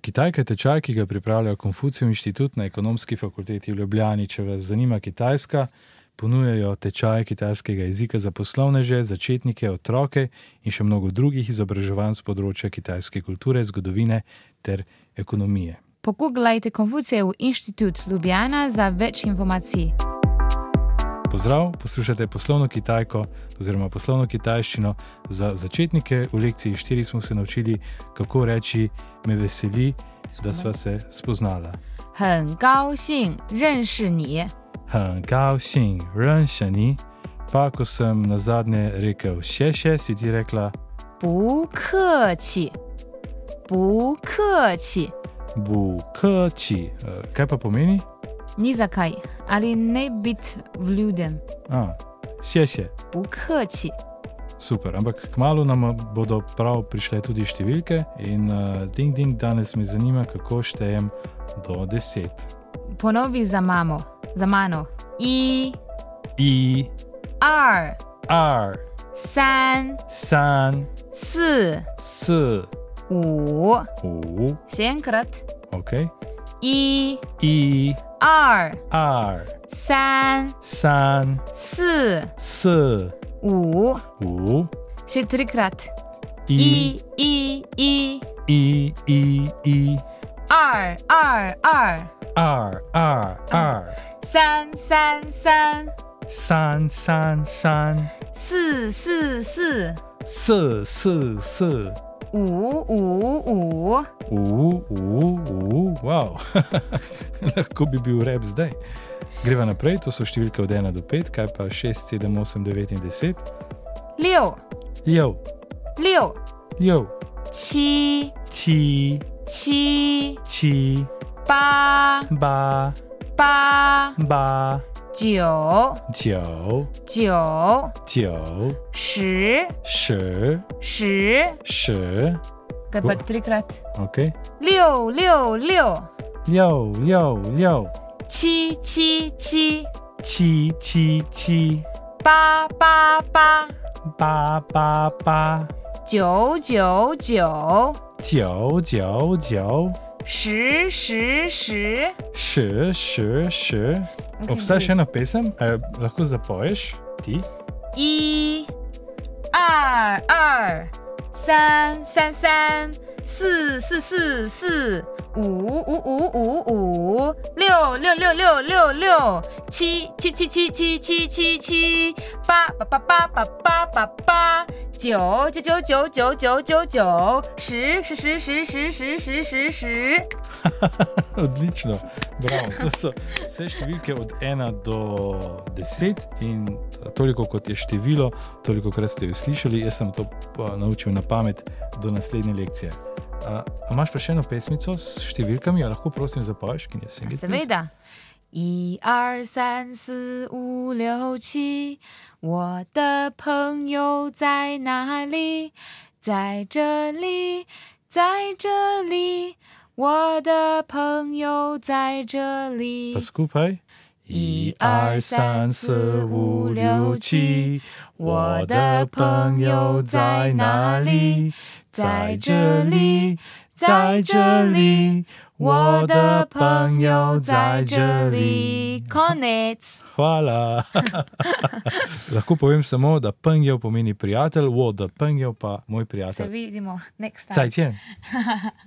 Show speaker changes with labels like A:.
A: Kitajka je tečaj, ki ga pripravlja Konfucijev inštitut na ekonomski fakulteti v Ljubljani. Če vas zanima Kitajska, ponujajo tečaje kitajskega jezika za poslovneže, začetnike, otroke in še mnogo drugih izobraževanj z področja kitajske kulture, zgodovine ter ekonomije.
B: Pogooglajte Konfucijev inštitut Ljubljana za več informacij.
A: Pozdrav, poslušate poslovno kitajko oziroma poslovno kitajščino za začetnike. V lekciji 4 smo se naučili, kako reči: Me veseli, da sva se spoznala.
B: 很高兴认识你，
A: Han Gao Xing, Ren Shani. Pa, ko sem na zadnje rekel še še, si ti rekla
B: 不客气，不客气。
A: Bu Kči. E, Kaj pa pomeni?
B: Ni zakaj, ali ne biti vljuden,
A: A, še še.
B: bu krči.
A: Super, ampak kmalo nam bodo prav prišle tudi številke in uh, ding ding danes me zanima, kako štejem do 10.
B: Ponovi za mamo, za mano. I,
A: I,
B: R,
A: E R,
B: 三、
A: san,
B: 四、
A: s,
B: 五。
A: u,
B: Še enkrat.
A: ok.
B: I,
A: I,
B: R,
A: E R,
B: 三、
A: san,
B: 四、
A: s,
B: 五。
A: u,
B: Še trikrat.
A: I,
B: I, I, I,
A: I, I, I,
B: 二、二、二、
A: E, R, R, R,
B: 三、三、三、
A: san, san, san,
B: 四、四、四、
A: s, s, s,
B: 五、五、五。
A: u, u, u, wow. Lahko bi bil rep zdaj. Greva naprej, to so številke od 1 do 5, kaj pa 6, 7, 8, 9 in 10.
B: 六
A: Jo,
B: 六
A: jo,
B: 七
A: či,
B: 七
A: či,
B: 八
A: ba,
B: 八
A: ba,
B: 九
A: jiao,
B: 九
A: jiao,
B: 十
A: shi,
B: 十，
A: shi,
B: Kaj pa trikrat?
A: ok.
B: 六六六
A: Liao, liao, liao,
B: 七七七
A: či, či, či,
B: 八八八
A: ba, ba, ba.
B: 九九九
A: 九九九，
B: 十十十。
A: še, še, še. Obstaja še ena pesem, eh, lahko zapoješ ti.
B: 一二二三三三四四四四五五五五五六六六六六六七七七七七七七七八八八八八八八八九九九九九九九九十十十十十十十十十。
A: Odlično, bravo. To so vse številke od 1 do 10 in toliko kot je število, toliko krat ste jo slišali. Jaz sem to pa naučil na pamet do naslednje lekcije. Eh, A, a imaš pa še eno pesmico s številkami, a lahko prosim zapoješ, ki je singel?
B: Seveda. 一二三四五六七，我的朋友在哪里？在这里，在这里，我的朋友在这里
A: Pa。skupaj.
B: 一二三四五六七，
A: 我的朋友在哪里？在这里，在这里，我
B: 我
A: 的
B: 的
A: 朋
B: 朋
A: 友
B: 友
A: 在
B: 在
A: 这
B: 这
A: 里
B: 里。。Konec.
A: Hvala. Lahko povem samo, da pengev pomeni prijatelj, voda pengev pa moj
B: Se
A: prijatelj.
B: vidimo next time.
A: Zajčen.